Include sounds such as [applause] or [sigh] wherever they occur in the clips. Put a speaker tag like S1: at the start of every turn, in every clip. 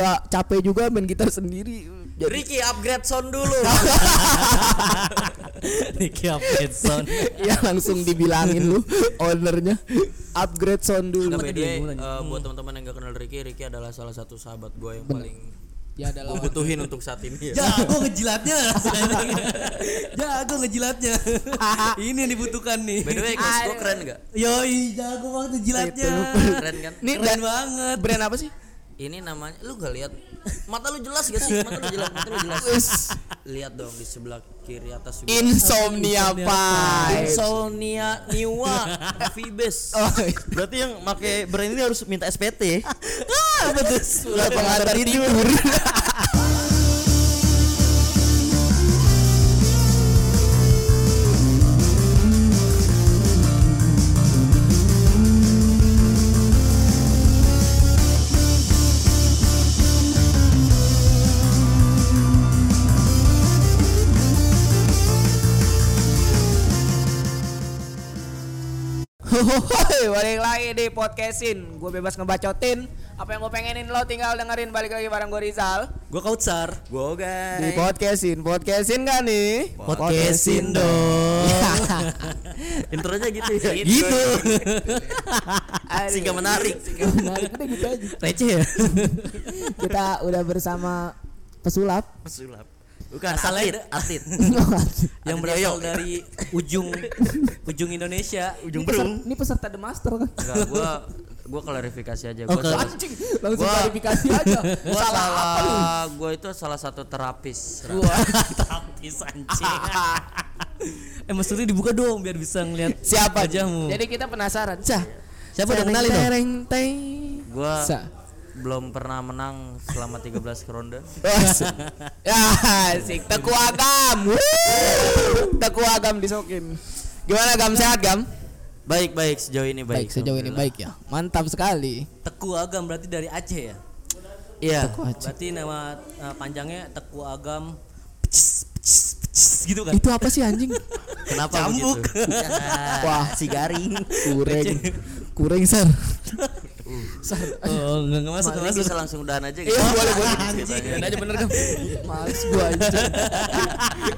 S1: Wah, capek juga main gitar sendiri. Jadi
S2: Ricky upgrade sound dulu.
S3: Ricky Alfredson
S1: [laughs] ya langsung dibilangin lu ownernya upgrade sound dulu.
S2: Nah, by the
S3: dia
S2: way,
S3: yang mulai.
S2: eh, buat teman-teman yang gak kenal Ricky, Ricky adalah salah satu sahabat gue yang paling
S1: Ya adalah
S2: gue butuhin untuk saat
S3: [laughs]
S2: ini. Ya.
S3: [laughs] Jago ngejilatnya [laughs] Jago ngejilatnya Ini yang dibutuhkan nih
S2: By the way, coach gue keren gak?
S3: Yoi jago banget ngejilatnya
S2: Keren kan?
S1: Ini
S3: Keren
S1: brand,
S3: banget
S1: brand apa sih?
S2: Ini namanya, lu gak lihat mata lu jelas gak sih? Mata lu jelas, mata lu jelas.
S1: Wis, Iya.
S2: Lihat dong di sebelah kiri atas juga.
S1: Insomnia Vibes.
S2: Insomnia Niwa Vibes.
S1: Oh,
S4: Berarti yang pakai brand ini harus
S2: [laughs]
S4: minta SPT.
S1: betul. Sudah pengantar tidur. [laughs]
S5: Hohoy, balik lagi di podcastin Gue bebas ngebacotin Apa yang gue pengenin lo tinggal dengerin Balik lagi bareng gue Rizal
S3: Gue kautsar
S2: Gue
S1: Di
S2: guys.
S1: podcastin, podcastin kan nih?
S3: Podcastin dong
S2: Intronya gitu ya.
S3: Gitu
S2: Sehingga menarik.
S1: [laughs] Nah, udah gitu aja.
S3: Receh ya
S1: Kita udah bersama pesulap. [laughs]
S4: Pesulap.
S2: Bukan
S3: Asalnya-
S2: atlet. atlet.
S3: [laughs] Yang
S2: Ada
S3: berasal
S2: Yoyo.
S3: dari ujung Ujung Indonesia
S4: Ujung
S1: Gitu.
S4: berung.
S1: Ini peserta The Master kan?
S2: Enggak, gue gue klarifikasi aja.
S3: Oh,
S2: Gue
S1: [laughs]
S2: salah,
S1: Anjing, langsung
S2: Wah.
S1: klarifikasi aja. [laughs]
S2: gua
S1: Salah apa lu?
S2: salah gue itu salah satu terapis. [laughs]
S3: Tapis anjing [laughs] Eh mas Suri dibuka dong biar bisa ngeliat
S1: Siapa?
S3: wajahmu
S5: Jadi kita penasaran
S1: Cah.
S3: Siapa udah kenalin dong?
S1: Tereng, teng.
S2: Gue
S1: Sa-
S2: belum pernah menang selama 13 ronde.
S1: Wah, se- [laughs] Ya, asik. Teku agam. Wuh. Teku agam disokin. Gimana gam sehat gam?
S2: Baik baik sejauh ini baik.
S1: Baik sejauh ini baik ya.
S2: Alhamdulillah.
S1: Mantap sekali.
S3: Teku Agam berarti dari Aceh ya?
S2: Iya.
S3: Berarti nama uh, panjangnya Teku Agam Pecis, pecis, pecis, gitu kan?
S1: Itu apa sih anjing?
S2: Kenapa
S3: Cambuk.
S2: begitu?
S3: [laughs]
S1: Wah,
S4: Si garing.
S1: [laughs] kureng. Kureng, Sar.
S3: Oh, enggak enggak
S2: Masuk
S3: masuk, enggak masuk.
S2: bisa langsung udahan aja gitu.
S1: Iya, boleh, boleh.
S2: Ceritanya.
S1: Dan aja bener kan? gam. Males gua anjing.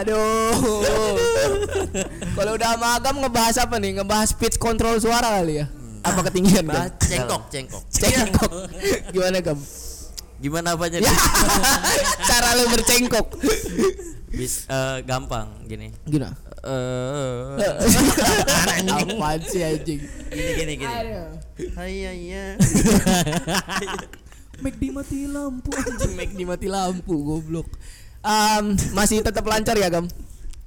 S1: Aduh. Kalau udah sama agam ngebahas apa nih? Ngebahas speech control suara kali ya? Apa ketinggian gam?
S2: Bah- Cengkok, cengkok.
S1: Cengkok. Gimana gam?
S2: Gimana apanya?
S1: Ya. Cara lu bercengkok.
S2: Bis, eh, gampang gini.
S1: Gimana?
S2: Eh,
S1: Apaan sih anjing?
S2: gini gini gini. ya,
S4: Hai iya.
S1: Mac dimati lampu anjing. Mac dimati lampu goblok. Um, masih tetap lancar ya gam?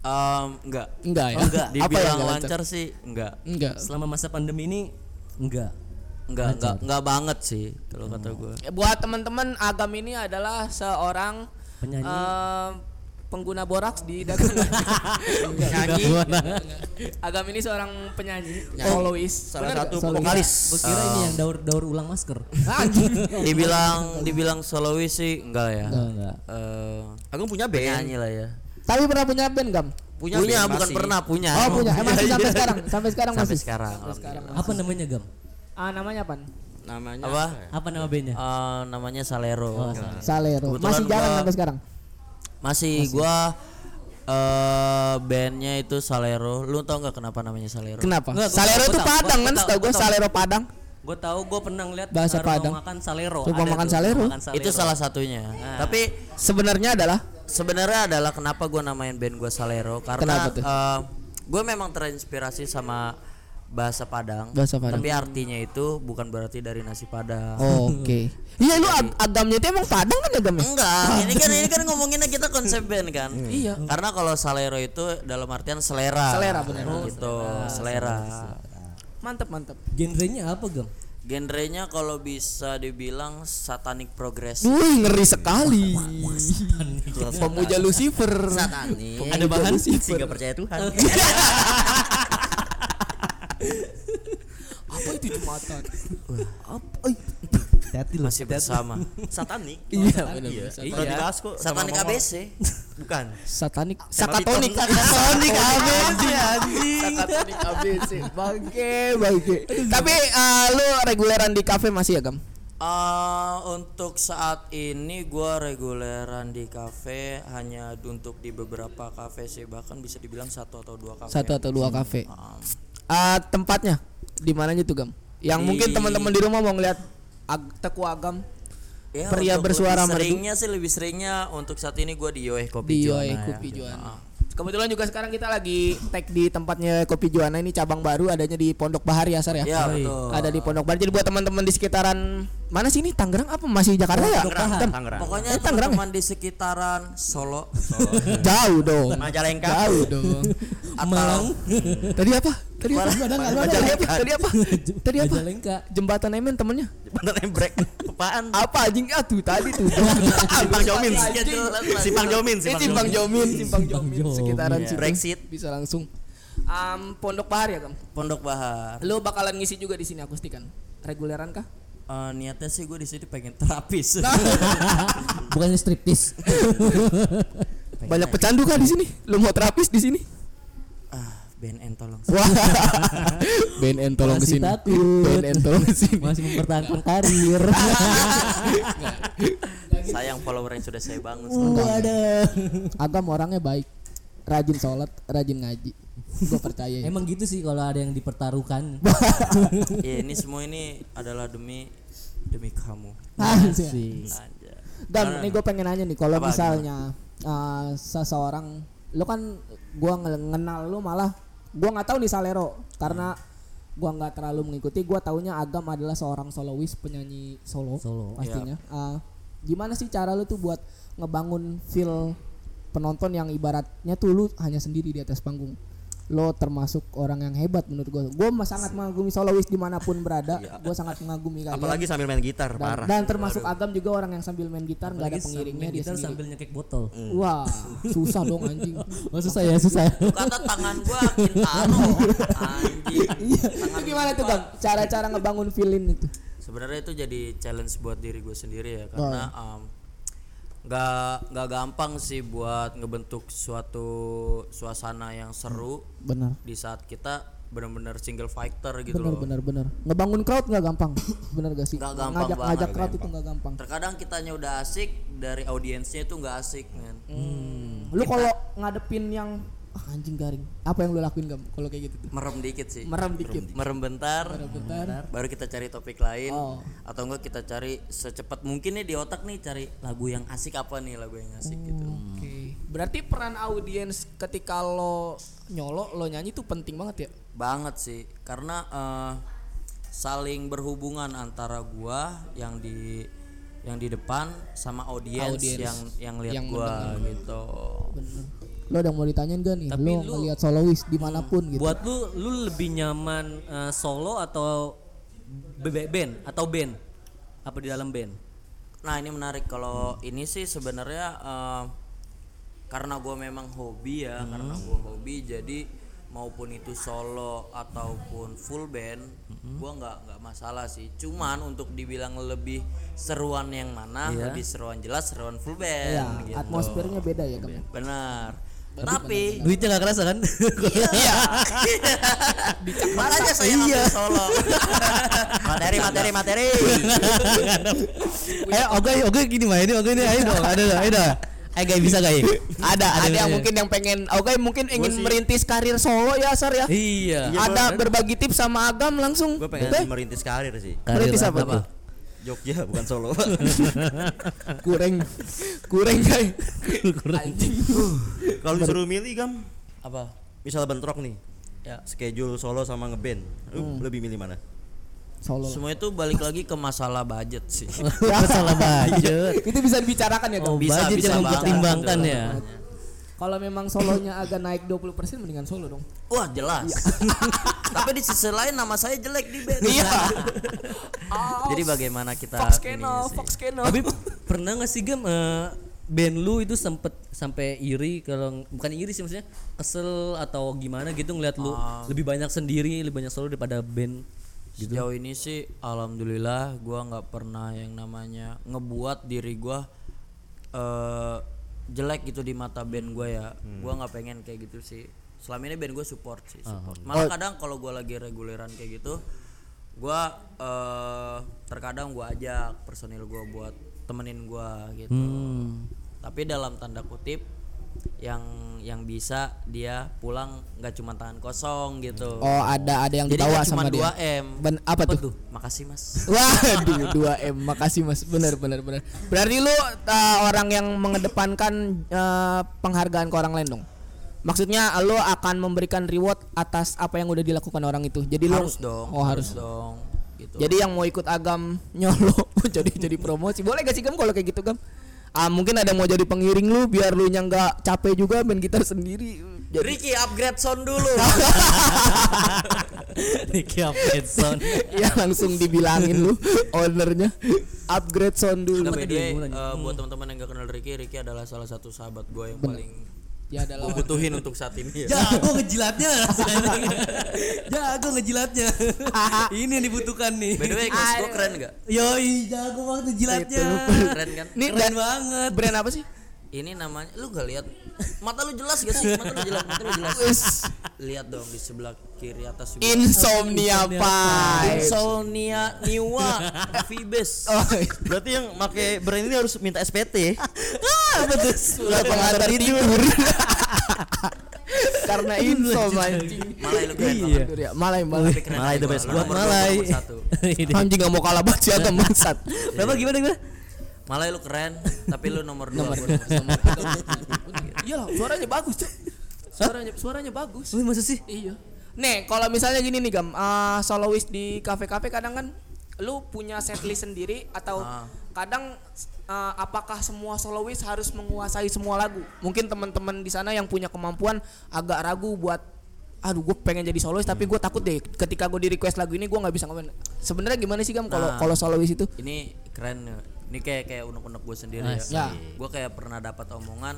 S2: Em, enggak.
S1: Enggak ya.
S2: Enggak, dibilang
S1: nggak
S2: lancar sih enggak.
S1: Enggak.
S3: Selama masa pandemi ini enggak.
S2: Enggak, enggak, enggak banget sih kalau kata gue.
S5: Buat teman-teman Agam ini adalah seorang
S3: Penyanyi.
S5: eh, Pengguna boraks di dagangan
S2: Nyanyi
S5: Agam ini seorang penyanyi Solois
S2: salah satu
S1: Salah.
S2: vokalis. Eh,
S3: Gua kira ini yang daur-daur ulang masker.
S2: Dibilang dibilang solois sih enggak ya.
S3: Enggak, enggak.
S2: Eh,
S4: Aku punya
S2: penyanyi
S4: band.
S2: lah ya.
S1: Tapi pernah punya band gam?
S2: Punya,
S4: band
S2: bukan
S4: masih.
S2: pernah punya.
S1: Oh punya. Eh, masih sampai sekarang. Sampai sekarang
S2: Sampai
S1: masih.
S2: sekarang. alhamdulillah.
S3: Apa namanya, Gam?
S5: ah, Namanya apa?
S4: Namanya ya?
S2: Apa?
S3: Apa nama bandnya?
S2: Eh, namanya Salero.
S1: Iya. Oh, Salero.
S2: Kebetulan
S1: Masih jalan
S2: gua-
S1: sampai sekarang.
S2: Masih, gua eh bandnya itu Salero. Lu tau nggak kenapa namanya Salero?
S1: Kenapa?
S3: Enggak, gua-
S1: Salero
S3: gua
S1: tuh
S3: tahu, gua-
S1: Padang
S3: gua
S1: kan?
S3: tahu,
S1: Setahu gue
S3: gua tahu.
S1: Salero Padang.
S3: Gue tahu gue pernah ngeliat
S1: Bahasa
S3: rumah
S1: Padang.
S3: makan salero.
S1: Rumah
S3: Ada
S1: makan
S3: tuh,
S1: Salero.
S3: rumah makan salero. Nah.
S2: Itu salah satunya. Tapi
S1: Sebenarnya adalah
S2: sebenarnya adalah kenapa gue namain band gue Salero
S1: Kenapa
S2: karena
S1: tuh?
S2: gue memang terinspirasi sama bahasa Padang,
S1: Bahasa Padang. Oh,
S2: tapi artinya itu bukan berarti dari nasi Padang.
S1: Oke. [laughs] Iya lu ag- agamnya itu emang Padang kan agamnya? [laughs]
S2: Enggak, ini kan ini kan ngomonginnya kita konsep band kan.
S1: Hmm.
S2: Iya. Karena kalau Salero itu dalam artian selera.
S1: Selera, bener. Oh,
S2: Gitu, selera.
S5: Mantep mantep
S3: Genrenya apa, Gam?
S2: Genrenya kalau bisa dibilang satanic
S1: [laughs]
S2: progress.
S1: Wih ngeri sekali. Pemuja Lucifer.
S4: Satani.
S1: Ada bahan sih.
S4: Sehingga percaya Tuhan.
S1: Apa itu jumatan? Apa?
S3: Hati-hati loh.
S2: Masih bersama.
S4: Satanik.
S1: Iya benar.
S4: Pernah dibahas kok. sama
S2: Satanic
S4: Momo.
S2: ABC.
S4: Bukan.
S1: Satanik. [laughs]
S4: Sakatonik.
S1: Sakatonik. Sakatonik ABC.
S3: Anjing.
S1: Sakatonik ABC. Bangke, bangke. Tapi eh, lu reguleran di kafe masih ya, Gam?
S2: Eh, untuk saat ini gua reguleran di kafe hanya untuk di beberapa kafe sih bahkan bisa dibilang satu atau dua kafe.
S1: Satu atau dua kafe.
S2: Um,
S1: Ah, tempatnya di mananya tuh Gam? Yang
S2: Di-
S1: mungkin teman-teman di rumah mau ngeliat ag Teku Agam
S2: ya,
S1: Pria
S2: untuk
S1: bersuara
S2: lebih
S1: merdu.
S2: seringnya sih lebih seringnya untuk saat ini gua di Yoeh Kopi
S1: di
S2: Juana
S1: Yoe
S2: ya.
S1: Kopi
S2: Ah.
S1: Juana. Kebetulan juga sekarang kita lagi tag di tempatnya Kopi Juana ini cabang baru adanya di Pondok Bahar ya Sar ya.
S2: Ya, betul.
S1: Ada di Pondok Bahar. Jadi buat teman-teman di sekitaran mana sih ini Tangerang apa masih Jakarta ya? Tem-
S4: Ah, Tangerang.
S2: Pokoknya
S1: Eh, Tangerang
S2: teman di sekitaran Solo
S1: Jauh dong.
S4: Majalengka.
S1: Jauh dong.
S2: atau
S1: [laughs] Tadi apa? Tadi apa?
S4: Padahal nggak ada.
S1: Tadi apa? Tadi apa? Tadi apa?
S3: Majalengka.
S1: Jembatan Emen temennya.
S4: Bener embrek. Apaan?
S1: Apa anjing? Ah tuh tadi tuh. [laughs]
S4: Simpang Jomin.
S2: Iya, jelas lah.
S4: Simpang Jomin,
S1: Ini Eh, Simpang [laughs] Jomin, Simpang Jomin
S3: Jomin.
S1: sekitaran
S2: Iya.
S1: situ.
S4: Brexit.
S1: Bisa langsung. Am, Pondok Bahar ya, Gam?
S2: Pondok Bahar.
S1: Lo bakalan ngisi juga di sini akustikan. Reguleran kah?
S2: Eh, niatnya sih gue di sini pengen
S1: [laughs]
S2: terapis.
S3: Bukannya striptis.
S1: Banyak pecandu kah di sini? Lo mau terapis di sini?
S2: ah, BNN tolong.
S1: [laughs] Wah. BNN tolong
S3: Masih
S1: kesini
S3: takut.
S1: BNN [laughs] tolong kesini
S3: Masih mempertahankan karir.
S4: Sayang follower yang sudah saya bangun.
S3: Hmm. Waduh.
S1: Agam orangnya baik. Rajin sholat, rajin ngaji. Gue percaya. ya.
S3: Emang gitu sih kalau ada yang dipertaruhkan.
S2: ya ini semua ini adalah demi demi kamu.
S1: Nah,
S3: Asik.
S2: Anjay.
S6: Dan ini gue pengen nanya nih kalau
S2: Apa,
S6: misalnya uh, seseorang lu kan gua nge- ngenal lu malah gua nggak tahu nih Salero karena gua nggak terlalu mengikuti gua taunya Agam adalah seorang solois penyanyi solo,
S3: Solo.
S6: pastinya. Uh, gimana sih cara lu tuh buat ngebangun feel penonton yang ibaratnya tuh lu hanya sendiri di atas panggung. Lo termasuk orang yang hebat menurut gua. Gua mah sangat mengagumi solois dimanapun berada. Gua sangat mengagumi kalian.
S4: Apalagi sambil main
S6: dan,
S4: gitar, parah.
S6: dan termasuk Agam juga orang yang sambil main gitar nggak ada
S3: Apalagi
S6: pengiringnya
S3: sambil
S6: dia
S3: gitar
S6: sendiri.
S3: sambil nyekek botol.
S6: Wah, susah dong anjing.
S3: Oh susah ya susah.
S2: Kata tangan gua kintaro. Anjing.
S1: Iya.
S6: Itu Iya. [laughs] gimana tuh Gam? Cara-cara ngebangun feeling itu.
S2: Sebenarnya itu jadi challenge buat diri gue sendiri ya karena um, nggak nggak gampang sih buat ngebentuk suatu suasana yang seru
S6: Benar,
S2: di saat kita benar-benar single fighter gitu
S6: benar,
S2: loh.
S6: benar, benar. Ngebangun crowd nggak gampang, benar gak sih?
S2: Nggak gampang
S6: ngajak
S2: banget,
S6: ngajak
S2: nggak
S6: crowd itu
S2: gampang.
S6: nggak gampang.
S2: Terkadang kitanya udah asik dari audiensnya itu nggak asik kan.
S6: Hmm. Lu kalau ngadepin yang ah, anjing garing, apa yang lu lakuin Gam kalau kayak gitu tuh?
S2: Merem dikit sih.
S6: Merem dikit.
S2: Merem bentar.
S6: Bentar.
S2: baru kita cari topik lain
S6: Oh.
S2: atau enggak kita cari secepat mungkin nih di otak nih cari lagu yang asik apa nih lagu yang asik
S6: Hmm.
S2: gitu
S1: Oke. Berarti peran audiens ketika lo nyolok, lo nyanyi tuh penting banget ya?
S2: banget sih karena eh, saling berhubungan antara gua yang di yang di depan sama audiens
S1: Audiens
S2: yang yang lihat gua gitu
S6: Lo ada yang mau ditanyain gak nih?
S3: Tapi
S6: lo
S3: lu-
S6: ngelihat solois dimanapun gitu.
S3: Buat lu lu lebih nyaman eh, solo atau be- band atau band? Apa di dalam band?
S2: nah ini menarik kalau ini sih sebenarnya eh, karena gua memang hobi ya karena gua hobi jadi maupun itu solo ataupun full band gua nggak nggak masalah sih cuman untuk dibilang lebih seruan yang mana lebih seruan jelas seruan full band
S6: ya,
S1: Iya,
S2: gitu. Iya.
S6: atmosfernya beda ya Gam.
S2: benar tapi
S3: Duitnya gak kerasa kan? [laughs]
S2: iya makanya saya iya. solo materi materi materi
S3: Eh, oke oke gini mah ini oke ini ayo dong, ada dong, ayo dong. Ayo guys bisa guys.
S1: ada ada, yang
S3: ada.
S1: mungkin yang pengen oke mungkin ingin merintis karir solo ya Sar ya
S3: Iya.
S1: ada berbagi tips sama Agam langsung
S4: Gue pengen
S1: Oke?
S4: merintis karir sih.
S1: merintis apa,
S3: Apa?
S1: tuh?
S4: Jogja bukan Solo.
S1: kureng kureng guys
S4: Kalau disuruh milih gam,
S2: apa
S4: misal bentrok nih.
S2: Ya.
S4: Schedule solo sama ngeband,
S1: Hmm.
S4: lu lebih milih mana?
S6: Solo. lah.
S2: semua itu balik lagi ke masalah budget
S1: [laughs]
S2: sih
S3: Masalah budget.
S1: itu bisa dibicarakan ya Gam
S3: Oh,
S2: Bisa,
S3: budget
S2: bisa
S3: yang
S2: banget.
S3: dipertimbangkan ya.
S6: Kalau memang solonya agak naik 20% mendingan solo dong.
S2: Wah jelas.
S1: Iya.
S2: [laughs] Tapi di sisi lain nama saya jelek di band. [laughs] Jadi bagaimana kita
S1: Fox
S2: ininya
S1: Keno
S2: sih?
S1: Fox Keno
S3: Tapi pernah gak sih Gam eh, band lu itu sempet sampai iri kalau bukan iri sih maksudnya kesel atau gimana gitu ngeliat lu lebih banyak sendiri, lebih banyak solo daripada [laughs] band.
S1: Gitu.
S2: Sejauh ini sih alhamdulillah gua nggak pernah yang namanya ngebuat diri gua eh jelek gitu di mata band gua ya.
S1: Hmm.
S2: Gua nggak pengen
S1: Oh.
S2: kayak gitu sih. Selama ini band gue support sih, support. Malah kadang kalau gua lagi reguleran kayak gitu gua eh, terkadang gua ajak personil gua buat temenin gua gitu
S3: Hmm.
S2: tapi dalam tanda kutip yang yang bisa dia pulang nggak cuma tangan kosong gitu
S1: Oh, ada ada yang
S2: jadi
S1: dibawa
S2: nggak cuma
S1: sama dia.
S2: 2 m
S1: Ben- apa tuh?
S2: makasih mas
S1: Waduh, 2M. Makasih Mas. Benar, benar, benar.
S5: Berarti lu uh, orang yang mengedepankan uh, penghargaan ke orang lain dong. Maksudnya lu akan memberikan reward atas apa yang udah dilakukan orang itu. Jadi lu
S2: harus dong
S5: Oh, harus.
S2: dong gitu
S1: Ya,
S5: Jadi yang mau ikut agam nyolo [laughs] jadi jadi promosi. Boleh gak sih Gam kalau kayak gitu Gam? Ah, mungkin ada yang mau jadi pengiring lu biar lu nya nggak capek juga main gitar sendiri.
S1: ya.
S5: Jadi [laughs]
S2: Ricky upgrade sound dulu
S3: Ricky Alfredson.
S5: ya langsung dibilangin lu ownernya upgrade sound dulu.
S2: Nggak, by the
S3: dia
S2: way,
S3: yang
S2: eh, buat teman-teman yang gak kenal Ricky Ricky adalah salah satu sahabat gue yang paling
S5: Ya adalah
S2: gua butuhin untuk saat ini ya.
S3: [laughs] Jago ngejilatnya. [laughs] Jago [laughs] ngejilatnya. Ini yang dibutuhkan nih.
S2: by the way coach gue keren gak
S3: Yoi, jago banget ngejilatnya.
S2: keren kan
S5: Ini
S3: Keren banget.
S5: brand apa sih?
S2: ini namanya lu gak lihat mata lu jelas gak sih mata lu jelas mata lu jelas lihat dong di sebelah kiri atas juga.
S1: Insomnia Pie.
S2: Insomnia Niwa Vibes
S1: Oh.
S4: Berarti yang pakai brand ini harus minta SPT.
S1: Sudah pengantar tidur.
S5: Karena insom anjing.
S2: Malai lu keren
S3: Iya.
S5: Tidur ya, malai malai.
S2: tapi keren
S4: Malai the
S2: gua.
S4: best.
S2: Lu
S4: Buat
S2: nomor dua,
S3: Malai.
S2: gua nomor satu.
S3: Ini.
S5: Anjing gak mau kalah banget sih atau mansat.
S3: Berapa gimana gimana?
S2: Malai lu keren tapi lu nomor 2 nomor,
S5: Iyalah, suaranya bagus tuh. Suaranya suaranya bagus.
S3: Lu maksud sih?
S5: Iya. Nih, kalau misalnya gini nih, Gam, eh soloist di kafe-kafe kadang kan lu punya setlist sendiri atau
S2: Ah.
S5: kadang eh, apakah semua soloist harus menguasai semua lagu? Mungkin teman-teman di sana yang punya kemampuan agak ragu buat aduh gue pengen jadi soloist tapi gue takut deh ketika gue di request lagu ini gue nggak bisa ngomong sebenarnya gimana sih gam kalau
S2: Nah.
S5: kalau soloist itu
S2: ini keren ya. ini kayak kayak unek-unek gue sendiri
S3: Asik.
S2: ya gue kayak pernah dapat omongan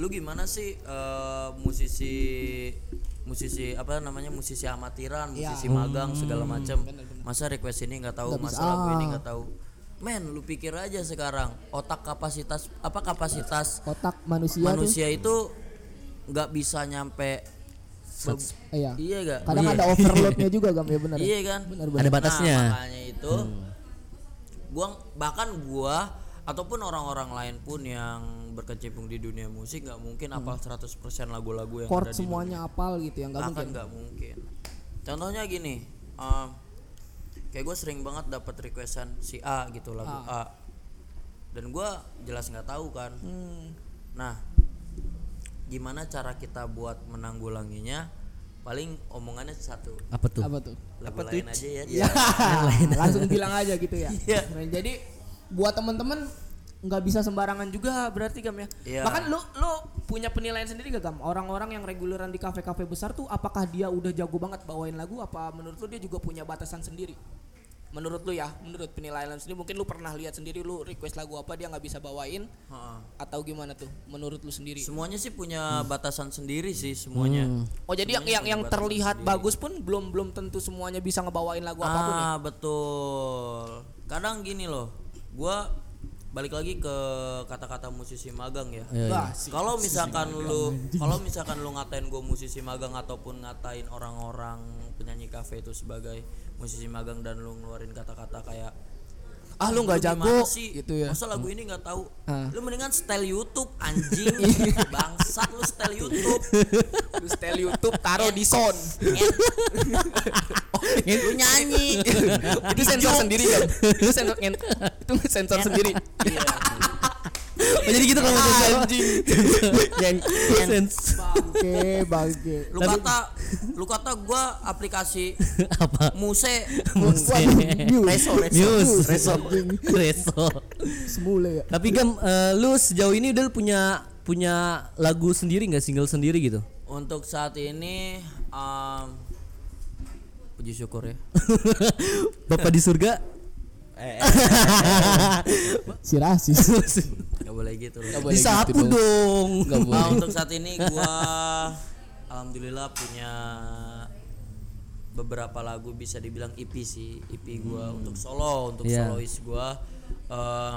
S2: lu gimana sih eh, musisi musisi apa namanya musisi amatiran musisi magang segala macam masa request ini nggak tahu masa lagu ini nggak tahu men lu pikir aja sekarang otak kapasitas apa
S1: Iya
S2: kapasitas
S6: Otak manusia, tuh.
S2: manusia itu nggak bisa nyampe
S3: Sats-
S2: be-
S6: Iya.
S2: iya gak
S1: kan
S6: Kadang ada overloadnya juga gam ya benar.
S2: Iya kan?
S3: Ada batasnya. Hmm.
S2: Nah, makanya itu gua bahkan gua ataupun orang-orang lain pun yang berkecimpung di dunia musik nggak mungkin apal
S3: Hmm.
S2: 100% lagu-lagu yang
S6: Chord
S2: ada di
S6: semuanya apal gitu ya nggak
S2: bahkan
S6: mungkin.
S2: nggak mungkin. Contohnya gini, em, kayak gue sering banget dapat requestan si A gitu lagu
S6: Ah.
S2: A, dan gua jelas nggak tahu kan.
S6: Hmm.
S2: Nah, gimana cara kita buat menanggulanginya? Paling omongannya satu,
S3: Apa tuh?
S6: Apa tuh? Iya.
S2: lagu lain aja ya.
S6: Langsung bilang aja gitu ya.
S2: Iya.
S5: Nah, jadi buat temen-temen nggak bisa sembarangan juga berarti gam ya.
S2: Iya.
S5: Bahkan lu lu punya penilaian sendiri gak gam? Orang-orang yang reguleran di kafe-kafe besar tuh apakah dia udah jago banget bawain lagu apa menurut lu dia juga punya batasan sendiri? Menurut lu ya, menurut penilaian lu sendiri mungkin lu pernah lihat sendiri lu request lagu apa dia nggak bisa bawain
S2: Heeh.
S5: atau gimana tuh menurut lu sendiri?
S2: Semuanya sih punya batasan sendiri sih semuanya.
S5: Oh jadi yang yang, yang terlihat bagus pun belum belum tentu semuanya bisa ngebawain lagu apapun ya.
S2: ah, betul. Kadang gini loh, gua balik lagi ke kata-kata musisi magang ya.
S5: Bah, sih.
S2: Kalau misalkan lu kalau misalkan lu ngatain gue musisi magang ataupun ngatain orang-orang penyanyi kafe itu sebagai musisi magang dan lu ngeluarin kata-kata kayak
S5: ah lu nggak jago
S2: gimana sih
S5: gitu ya.
S2: masa lagu ini nggak tahu lu mendingan setel YouTube
S5: [laughs]
S2: anjing bangsat lu setel YouTube
S5: ya. Lu setel YouTube taruh di sound.
S2: lu
S3: [laughs]
S2: nyanyi
S5: itu sensor sendiri kan itu sensor
S1: [laughs]
S5: ngent- itu sensor
S3: Ya.
S5: sendiri
S2: Iya,
S3: Oh, jadi gitu kalau maksud gua. [laughs] Yang sense.
S6: Oke, bangke.
S2: lu kata lu kata gua aplikasi
S3: Apa?
S2: muse
S3: Musik.
S6: News.
S3: News.
S6: Reso.
S3: Reso.
S6: Semula ya.
S3: Tapi Gam, eh, lu sejauh ini udah punya punya lagu sendiri nggak single sendiri gitu? [laughs]
S2: untuk saat ini em, puji syukur ya
S3: Bapak di surga?
S6: Si rasis.
S2: nggak boleh gitu loh
S3: Disapu dong. [laughs]
S2: Nah, untuk saat ini gua alhamdulillah punya beberapa lagu bisa dibilang E EP sih EP gua untuk solo untuk
S3: Iya.
S2: solois gua eh,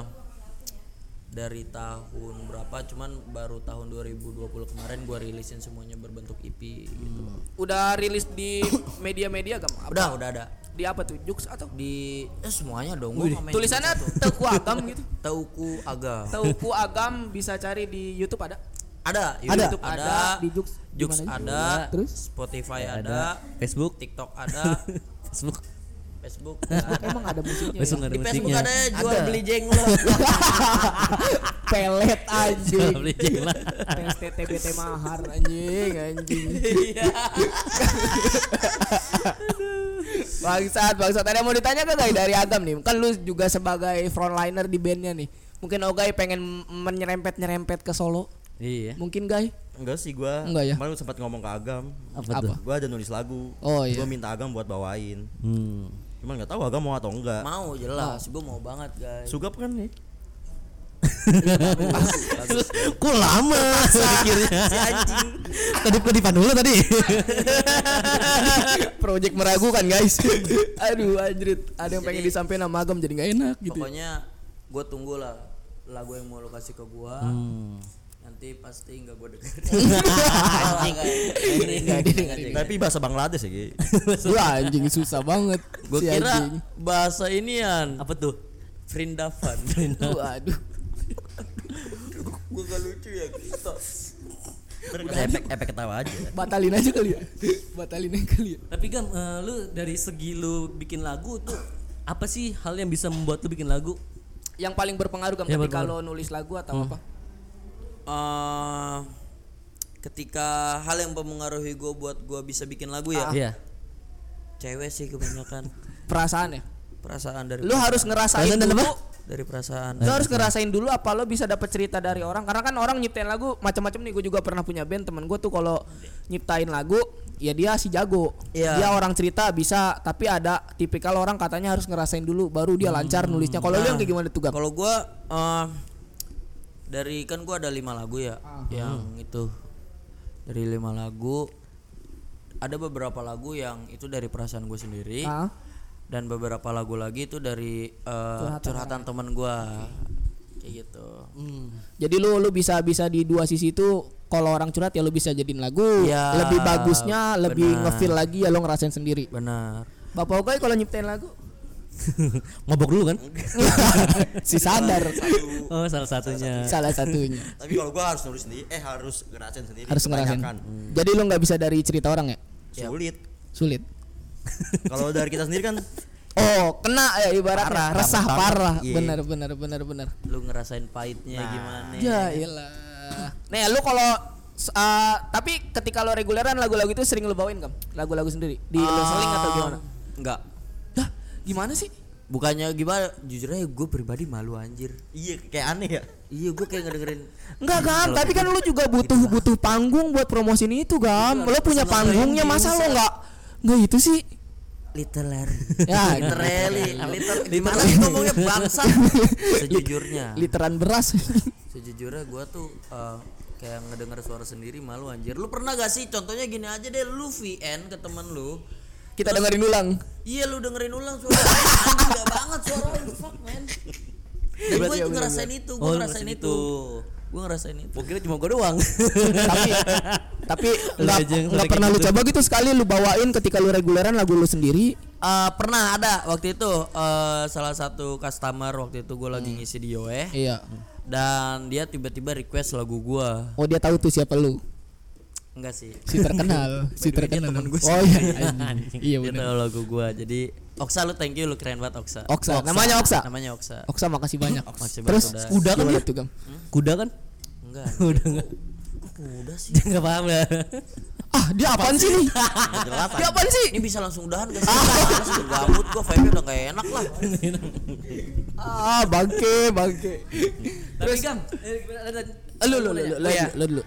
S2: dari tahun berapa cuman baru tahun 2020 kemarin gua rilisin semuanya berbentuk EP gitu.
S5: Hmm. Udah rilis di media-media gam? Apa-
S2: Udah, udah ada.
S5: Di apa tuh? Jux atau?
S2: Di eh, semuanya dong
S3: Oh,
S2: gua ngamen
S5: Tulisannya Teku Agam
S3: [laughs]
S5: gitu.
S2: Tauku Aga.
S5: Teku Agam bisa cari di YouTube ada.
S2: Ada,
S1: Ada.
S2: YouTube ada,
S6: di Jux
S2: Jux
S6: gimana?
S2: ada,
S6: Terus?
S2: Spotify ada,
S3: Facebook
S2: TikTok ada,
S3: Facebook
S2: Facebook.
S6: Emang ada musiknya ya?
S3: Facebook nggak ada
S2: Di Facebook
S3: musiknya
S2: ada jual beli jenglot.
S1: Pelet
S3: Jual
S1: anjing.
S3: beli
S2: gitu.
S3: jenggot.
S5: PSTTBT mahar anjing anjing.
S6: [laughs]
S1: Bangsat, bangsat. Ada yang mau ditanya kagak dari Agam nih? Kan lu juga sebagai frontliner di bandnya nih. Mungkin Ogai pengen menyerempet-nyerempet ke Solo.
S3: Iya.
S1: Mungkin Gai?
S4: Enggak sih gua.
S1: Enggak ya?
S4: Kemarin gua sempat ngomong ke Agam.
S3: Apa,
S1: Apa?
S3: tuh?
S4: Gua ada nulis lagu.
S1: Oh, iya.
S4: Gua minta Agam buat bawain.
S3: Hmm.
S4: Cuman nggak tahu Agam mau atau enggak.
S2: mau jelas, gua mau banget guys.
S4: Sugap kan nih.
S3: Kok lama mikirnya si anjing. Tadi kedipan dulu tadi.
S2: [laughs]
S1: [laughs] Project meragukan
S5: [laughs]
S1: guys. Aduh anjrit, ada yang pengen
S3: Iya.
S1: disampaikan sama Agam jadi nggak enak gitu.
S2: Pokoknya gue tunggu lah lagu yang mau lo kasih ke gua Nanti pasti nggak gue dengerin.
S4: Tapi bahasa Bangladesh ya, Gi.
S1: Wah anjing susah banget.
S2: Gue
S1: si
S2: kira
S1: anjing.
S2: bahasa inian
S3: Apa tuh?
S2: Frindavan.
S1: Waduh.
S2: gue gak lucu ya gitu.
S4: Udah efek efek ketawa aja.
S1: Batalin aja kali ya. [laughs] Batalin aja kali ya.
S3: Tapi Gam, eh, lu dari segi lu bikin lagu tuh apa sih hal yang bisa membuat lu bikin lagu?
S5: Yang paling berpengaruh gam
S3: Ya,
S5: ketika
S3: berpengaruh. Hmm.
S5: lo nulis lagu atau apa?
S2: Eh, ketika hal yang mempengaruhi gue buat gue bisa bikin lagu ya,
S3: Iya.
S2: cewek sih kebanyakan
S5: Perasaan ya.
S2: perasaan dari
S5: Lu harus ngerasain
S3: Perasaan dan
S5: dulu.
S3: apa?
S2: dari perasaan.
S5: Lo harus ngerasain dulu apa lo bisa dapat cerita dari orang karena kan orang nyiptain lagu macam-macam nih gue juga pernah punya band temen gue tuh kalau nyiptain lagu ya dia si jago
S2: Iya.
S5: dia orang cerita bisa tapi ada tipikal orang katanya harus ngerasain dulu baru dia lancar nulisnya kalau lu yang kayak gimana tuh Gam?
S2: Kalau gua eh, dari kan gua ada lima lagu ya,
S3: Hmm.
S2: yang itu dari lima lagu ada beberapa lagu yang itu dari perasaan gue sendiri
S5: Ah.
S2: dan beberapa lagu lagi itu dari eh, curhatan, teman gua kayak gitu.
S5: jadi lu lu bisa bisa di dua sisi itu kalau orang curhat ya lu bisa jadiin lagu
S2: Iya,
S5: lebih bagusnya lebih
S2: benar.
S5: ngefeel lagi ya lo ngerasain sendiri
S2: Benar.
S5: bapak Ogoy kalau nyiptain lagu
S3: [laughs] Mabok dulu kan?
S1: [laughs] Si sadar
S3: Oh, salah satunya.
S1: salah satunya.
S4: Tapi kalau gua harus nulis sendiri, eh harus ngerasain sendiri.
S1: Harus ngerasain. Hmm.
S4: kebanyakan. Iya.
S1: Jadi lu nggak bisa dari cerita orang ya?
S4: Sulit.
S1: Sulit.
S4: [laughs] Kalau dari kita sendiri kan
S1: Oh, kena ya ibaratnya
S4: Parah,
S1: resah
S4: tambah-tambah.
S1: parah.
S4: Iya.
S1: Benar benar benar benar.
S2: Lu ngerasain pahitnya gimana?
S3: Ah,
S1: Ya ilah.
S5: nah lu kalau s- ah, tapi ketika lo reguleran lagu-lagu itu sering lo bawain Gam? lagu-lagu sendiri di lo seling atau gimana
S2: Enggak.
S5: Dah, gimana sih?
S2: Bukannya gimana? Jujur aja gue pribadi malu anjir.
S4: iya kayak aneh ya.
S2: Iya gue kayak ngedengerin.
S1: Enggak Gam, tapi kan lu juga butuh butuh panggung buat promosiin itu Gam.
S3: Iya.
S1: Lu punya panggungnya masa lu nggak nggak itu
S4: [laughs]
S1: sih?
S2: Little Larry.
S1: Ya,
S2: [laughs] Literally, liter, gimana sih ngomongnya bangsa? [laughs] Sejujurnya,
S1: literan beras. [laughs]
S2: sejujurnya gue tuh eh, kayak ngedenger suara sendiri malu anjir. Lu pernah gak sih? Contohnya gini aja deh, lu VN ke temen lu.
S1: Kita dengerin ulang.
S2: Iya lu dengerin ulang suara anjing, Gak banget suara lu fuck man.
S1: ya
S2: Dan gue itu ngerasain itu, gue Oh, ngerasain itu. Gue ngerasain itu.
S3: Mungkin cuma gua doang.
S1: tapi [laughs] tapi nggak
S3: aja yang
S1: nggak
S3: sering
S1: pernah lu
S3: gitu.
S1: coba gitu sekali lu bawain ketika lu reguleran lagu lu sendiri.
S2: Eh, pernah ada waktu itu eh, salah satu customer waktu itu gue
S1: Hmm.
S2: lagi ngisi di Yoeh
S1: Iya.
S2: dan dia tiba-tiba request lagu gua
S1: Oh dia tahu tuh siapa lu.
S2: enggak sih
S1: Si terkenal, [laughs] si
S2: By the way, dia
S1: terkenal.
S2: temen gua
S1: Oh iya.
S2: [laughs]
S1: anjing. Iya
S2: Dia
S1: benar.
S2: tahu lagu gua. Jadi Oksa lu thank you lu keren banget Oksa.
S1: Oksa. Namanya Oksa?
S2: Namanya Oksa.
S1: Gitu. Oksa makasih banyak.
S2: Makasih banyak
S1: Terus
S2: udah-
S1: kuda kan dia tuh Gam.
S3: Kuda kan?
S2: Enggak.
S3: Udah enggak.
S2: Udah
S3: [laughs]
S2: sih.
S3: Enggak paham ya. lah.
S1: Ah, dia apaan sih [laughs] nih? dia apaan sih?
S2: Ini bisa langsung udahan gak sih? Males gua gabut gua vibe udah gak enak lah.
S1: Ah, bangke, bangke.
S3: Tapi Gam, eh,
S1: Eh, Lu lu lu lu lu, lu dulu.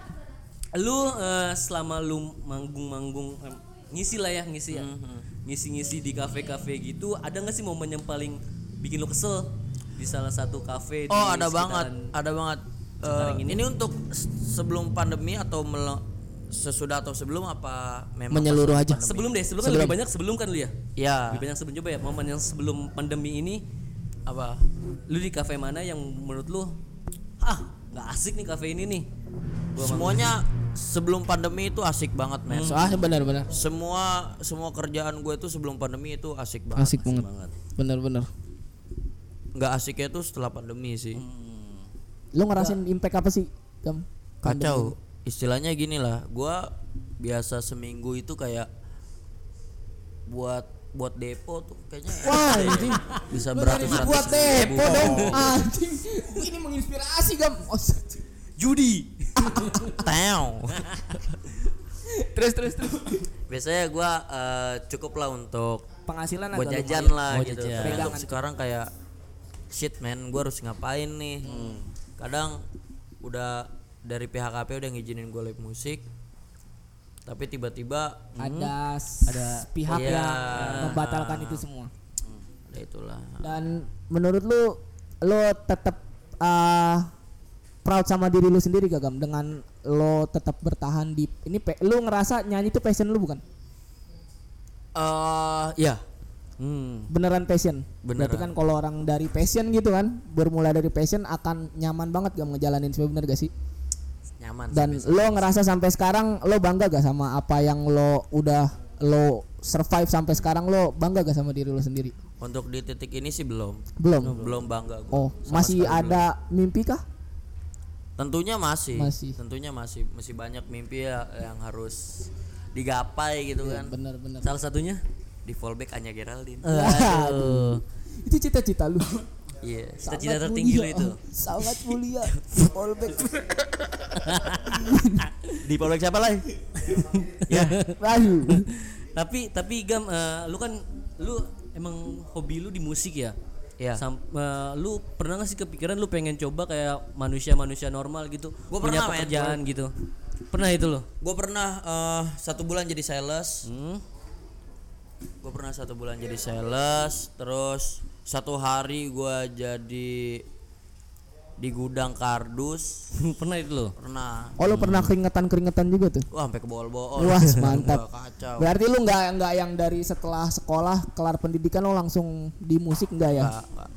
S3: lu eh, selama lu manggung-manggung em, ngisi lah ya ngisi ya
S2: Mhm.
S3: ngisi-ngisi di kafe-kafe gitu ada nggak sih momen yang paling bikin lu kesel di salah satu kafe di
S2: Oh, ada
S3: sekitaran-
S2: banget. Ada banget. Eh, ini. untuk s- sebelum pandemi atau mele- sesudah atau sebelum apa memang
S1: Menyeluruh aja.
S3: sebelum deh sebelum, kan lebih banyak sebelum kan lu ya
S2: ya
S3: lebih banyak sebelum coba ya momen yang sebelum pandemi ini
S2: apa
S3: lu di kafe mana yang menurut lu ah nggak asik nih kafe ini nih Gua sama-
S2: Semuanya sebelum pandemi itu asik banget, men.
S1: soalnya benar-benar
S2: Semua semua kerjaan gue itu sebelum pandemi itu asik banget.
S1: asik banget bener-bener
S2: Nggak asiknya itu setelah pandemi sih.
S1: lo ngerasain impact apa sih Gam?
S2: Kacau. Istilahnya gini lah, gue biasa seminggu itu kayak buat buat depo tuh kayaknya
S1: Wah,
S2: enak deh.
S1: anjing.
S2: bisa
S1: Lu
S2: beratus
S1: jadi
S2: ratus
S1: buat
S2: ribu.
S1: depo dong anjing ini menginspirasi gam oh,
S2: judi tau
S5: terus terus terus
S2: biasanya gua eh, cukup lah untuk
S5: penghasilan
S2: buat
S5: agak
S2: jajan
S5: lumayan.
S2: lah
S3: Oh,
S2: gitu
S3: jajan.
S2: Tapi untuk
S5: Pegangan.
S2: sekarang kayak shit man gua harus ngapain nih kadang udah dari pihak KP udah ngizinin gue live musik tapi tiba-tiba
S1: ada
S5: ada
S1: pihak
S2: Iya.
S1: yang membatalkan itu semua
S2: ya itulah
S1: dan menurut lu lo tetap ah, proud sama diri lu sendiri gak gam dengan lo tetap bertahan di ini pe, lu ngerasa nyanyi itu passion lu bukan
S2: eh ya
S3: hmm.
S1: beneran passion berarti
S2: Beneran.
S1: kan kalau orang dari passion gitu kan bermula dari passion akan nyaman banget gam ngejalanin sebenarnya bener gak sih
S2: nyaman
S1: dan lo ngerasa sampai sekarang lo bangga gak sama apa yang lo udah lo survive sampai sekarang lo bangga gak sama diri lo sendiri
S2: untuk di titik ini sih belum
S1: belum
S2: belum bangga gua.
S1: oh
S2: Sama
S1: masih
S2: sekali belum.
S1: ada mimpi kah
S2: tentunya masih,
S1: Masih.
S2: tentunya masih masih banyak mimpi ya yang harus digapai gitu
S3: Iya,
S2: kan
S1: bener bener
S3: salah satunya
S2: di fallback hanya Geraldine
S1: Aduh. itu cita-cita lu
S2: iya
S3: cita-cita
S1: Sangat
S3: tertinggi lo
S1: mulia.
S3: itu
S1: sangat mulia all back
S7: Di Polrek siapa
S1: [laughs]
S7: lah?
S1: Ya. Aduh.
S3: [laughs] tapi tapi gam eh, lu kan lu emang hobi lu di musik ya
S2: Iya.
S3: Sam- eh, lu pernah gak sih kepikiran lu pengen coba kayak manusia-manusia normal gitu
S2: Gua
S3: punya
S2: pernah, men.
S3: pekerjaan gitu pernah itu lo [laughs]
S2: gue pernah eh, satu bulan jadi sales gue pernah satu bulan jadi sales terus satu hari gue jadi di gudang kardus
S3: pernah itu lo
S2: pernah
S1: oh lo pernah keringetan keringetan juga tuh
S2: wah sampai kebol-bol [laughs]
S1: Wah mantap.
S2: kacau
S1: Berarti lu nggak nggak yang dari setelah sekolah kelar pendidikan lo langsung di musik nggak ya?
S2: Nggak, nggak.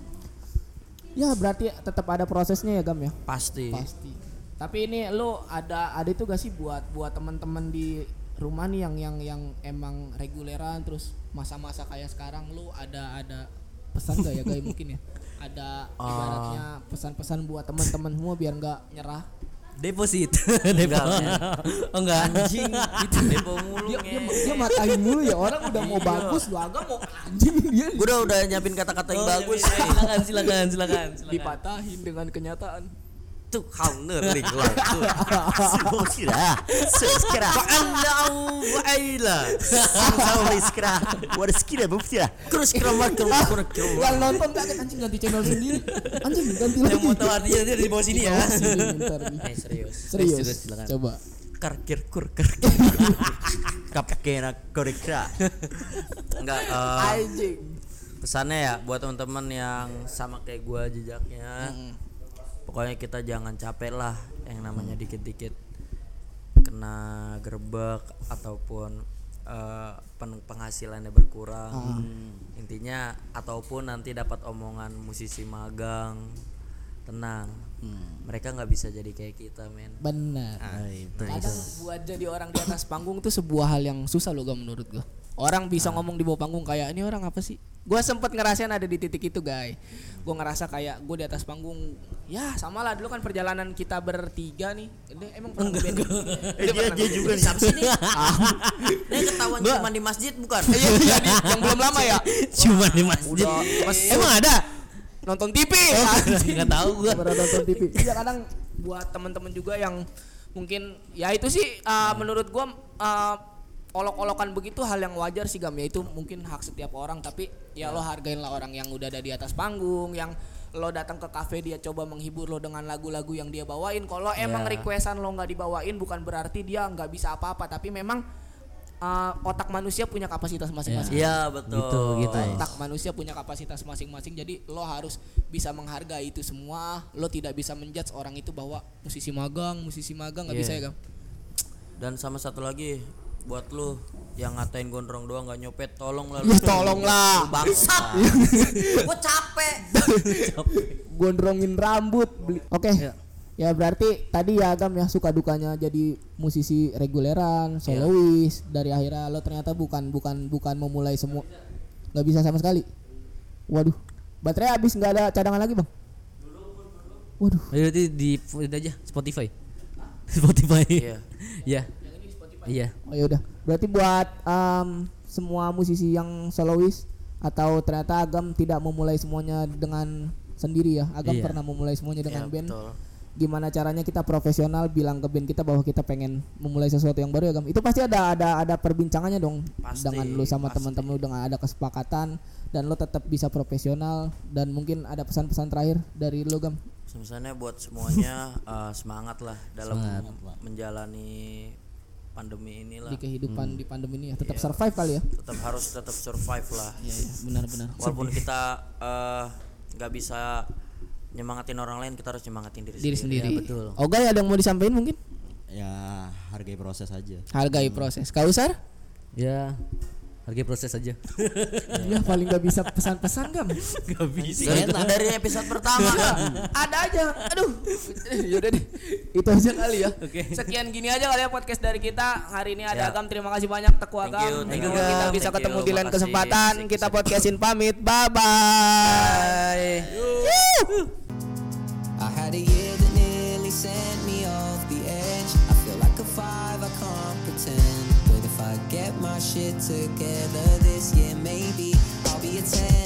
S1: Ya berarti tetap ada prosesnya ya Gam ya.
S2: pasti
S1: Pasti.
S5: tapi ini lu ada ada itu gak sih buat buat teman-teman di rumah nih yang yang yang emang reguleran terus masa-masa kayak sekarang lu ada ada
S1: Pesan nggak ya Gam mungkin
S2: [laughs]
S1: ya?
S5: ada
S2: Ah.
S1: Ibaratnya pesan-pesan buat teman-teman semua biar nggak nyerah.
S3: deposit [laughs] depo oh enggak
S2: anjing itu depo mulu
S1: Dia dia matain mulu ya orang udah mau bagus lu agak mau anjing dia.
S2: gue udah udah nyiapin kata-kata
S3: Oh,
S2: yang bagus nih
S3: iya, silakan silakan silakan silakan
S5: dipatahin dengan kenyataan
S2: tuh counter nih keluar tuh
S7: Semua kira. Sekira.
S2: Allahu Akbar.
S7: Semua sekira. Wadah sekira bukti lah.
S2: terus keramar keramar keramar
S1: Yang nonton kaget anjing ganti channel sendiri. Anjing ganti lagi.
S3: yang mau tahu artinya nanti ada di bawah sini ya
S1: Sini, bentar nih.
S2: Eh, serius
S1: Serius.
S3: Serius, silakan.
S1: Coba.
S2: kerkir kur kerkir
S7: Kapkena korekra.
S2: [laughs] enggak eh, pesannya ya buat teman-teman yang sama kayak gua jejaknya pokoknya kita jangan capek lah yang namanya dikit-dikit kena gerbek ataupun eh, pen- penghasilannya berkurang intinya ataupun nanti dapat omongan musisi magang tenang mereka nggak bisa jadi kayak kita men Nah,
S1: Benar.
S5: kadang buat jadi orang di atas panggung tuh sebuah hal yang susah loh gak menurut gua orang bisa ngomong di bawah panggung kayak ini orang apa sih gua sempet ngerasain ada di titik itu guys gua ngerasa kayak gua di atas panggung ya sama lah dulu kan perjalanan kita bertiga nih Dia emang pernah ngeband ya?
S7: Eh dia dia juga nih.
S2: sini ini ketahuan cuma di masjid bukan
S5: iya iya, di- yang belum lama ya
S3: cuma di masjid
S2: udah mas
S3: emang ada
S5: nonton TV
S3: nggak tahu gua
S1: Pernah nonton TV.
S5: Iya kadang buat temen-temen juga yang mungkin ya itu sih uh, menurut gua uh, olok-olokan begitu hal yang wajar sih Gam ya itu mungkin hak setiap orang tapi ya lo hargain lah orang yang udah ada di atas panggung yang lo datang ke kafe dia coba menghibur lo dengan lagu-lagu yang dia bawain kalau emang requestan lo nggak dibawain bukan berarti dia nggak bisa apa-apa tapi memang uh, otak manusia punya kapasitas masing-masing
S2: iya betul
S3: gitu.
S5: otak manusia punya kapasitas masing-masing jadi lo harus bisa menghargai itu semua Ah, lo tidak bisa menjudge orang itu bahwa musisi magang musisi magang nggak
S2: Iya.
S5: bisa ya Gam?
S2: dan sama satu lagi buat lu yang ngatain gondrong doang nggak nyopet tolong lah
S1: Ya tolonglah. [laughs]
S2: bangsat gua capek
S1: gondrongin rambut beli oke Ya berarti tadi ya Agam ya suka dukanya jadi musisi reguleran, solois dari akhirnya lo ternyata bukan bukan bukan memulai semua nggak bisa sama sekali. Waduh, baterai habis nggak ada cadangan lagi bang? Waduh,
S3: Ya, Berarti di itu aja Spotify. [laughs] Spotify.
S2: Iya.
S3: Iya. Iya.
S1: oh ya udah. Berarti buat em, semua musisi yang solois atau ternyata Agam tidak memulai semuanya dengan sendiri ya. Agam
S3: Iya.
S1: pernah memulai semuanya dengan band.
S2: betul.
S1: gimana caranya kita profesional bilang ke band kita bahwa kita pengen memulai sesuatu yang baru ya Gam. Itu pasti ada ada ada perbincangannya dong
S2: Pasti,
S1: dengan lu sama
S2: pasti.
S1: teman-teman lu dengan ada kesepakatan dan lu tetap bisa profesional dan mungkin ada pesan-pesan terakhir dari lu Gam.
S2: Sebenarnya buat semuanya eh, semangat lah dalam
S3: Semangat,
S2: menjalani pandemi
S1: di
S2: inilah.
S1: kehidupan di pandemi ini ya tetap survive kali ya.
S2: Tetap harus tetap survive lah.
S1: Iya iya benar-benar.
S2: Walaupun kita eh, nggak bisa nyemangatin orang lain, kita harus nyemangatin diri,
S1: Diri
S2: sendiri.
S1: sendiri.
S2: Iya,
S3: betul.
S1: Oga ya ada yang mau disampaikan mungkin?
S8: Ya hargai proses aja.
S1: Hargai proses. Kausar?
S3: Ya. Harga proses aja.
S1: Ya paling gak bisa pesan-pesan Gam.
S3: Gak bisa.
S2: Dari, dari episode pertama kan.
S5: ada aja aduh yaudah Ya deh
S1: Itu aja kali ya.
S3: Oke.
S5: sekian gini aja kali ya podcast dari kita hari ini ada
S2: Ya.
S5: Agam terima kasih banyak Teku
S2: Thank
S5: Agam
S2: you, thank you,
S5: Semoga Ya, kita bisa
S2: thank
S5: ketemu
S2: you,
S5: di lain
S2: makasih.
S5: kesempatan
S2: Thank you,
S5: kita
S2: thank you.
S5: podcastin pamit bye bye
S9: I had a year that nearly sent me off the edge. I feel like a five, I can't pretend. But if I get my shit together this year, maybe I'll be a ten.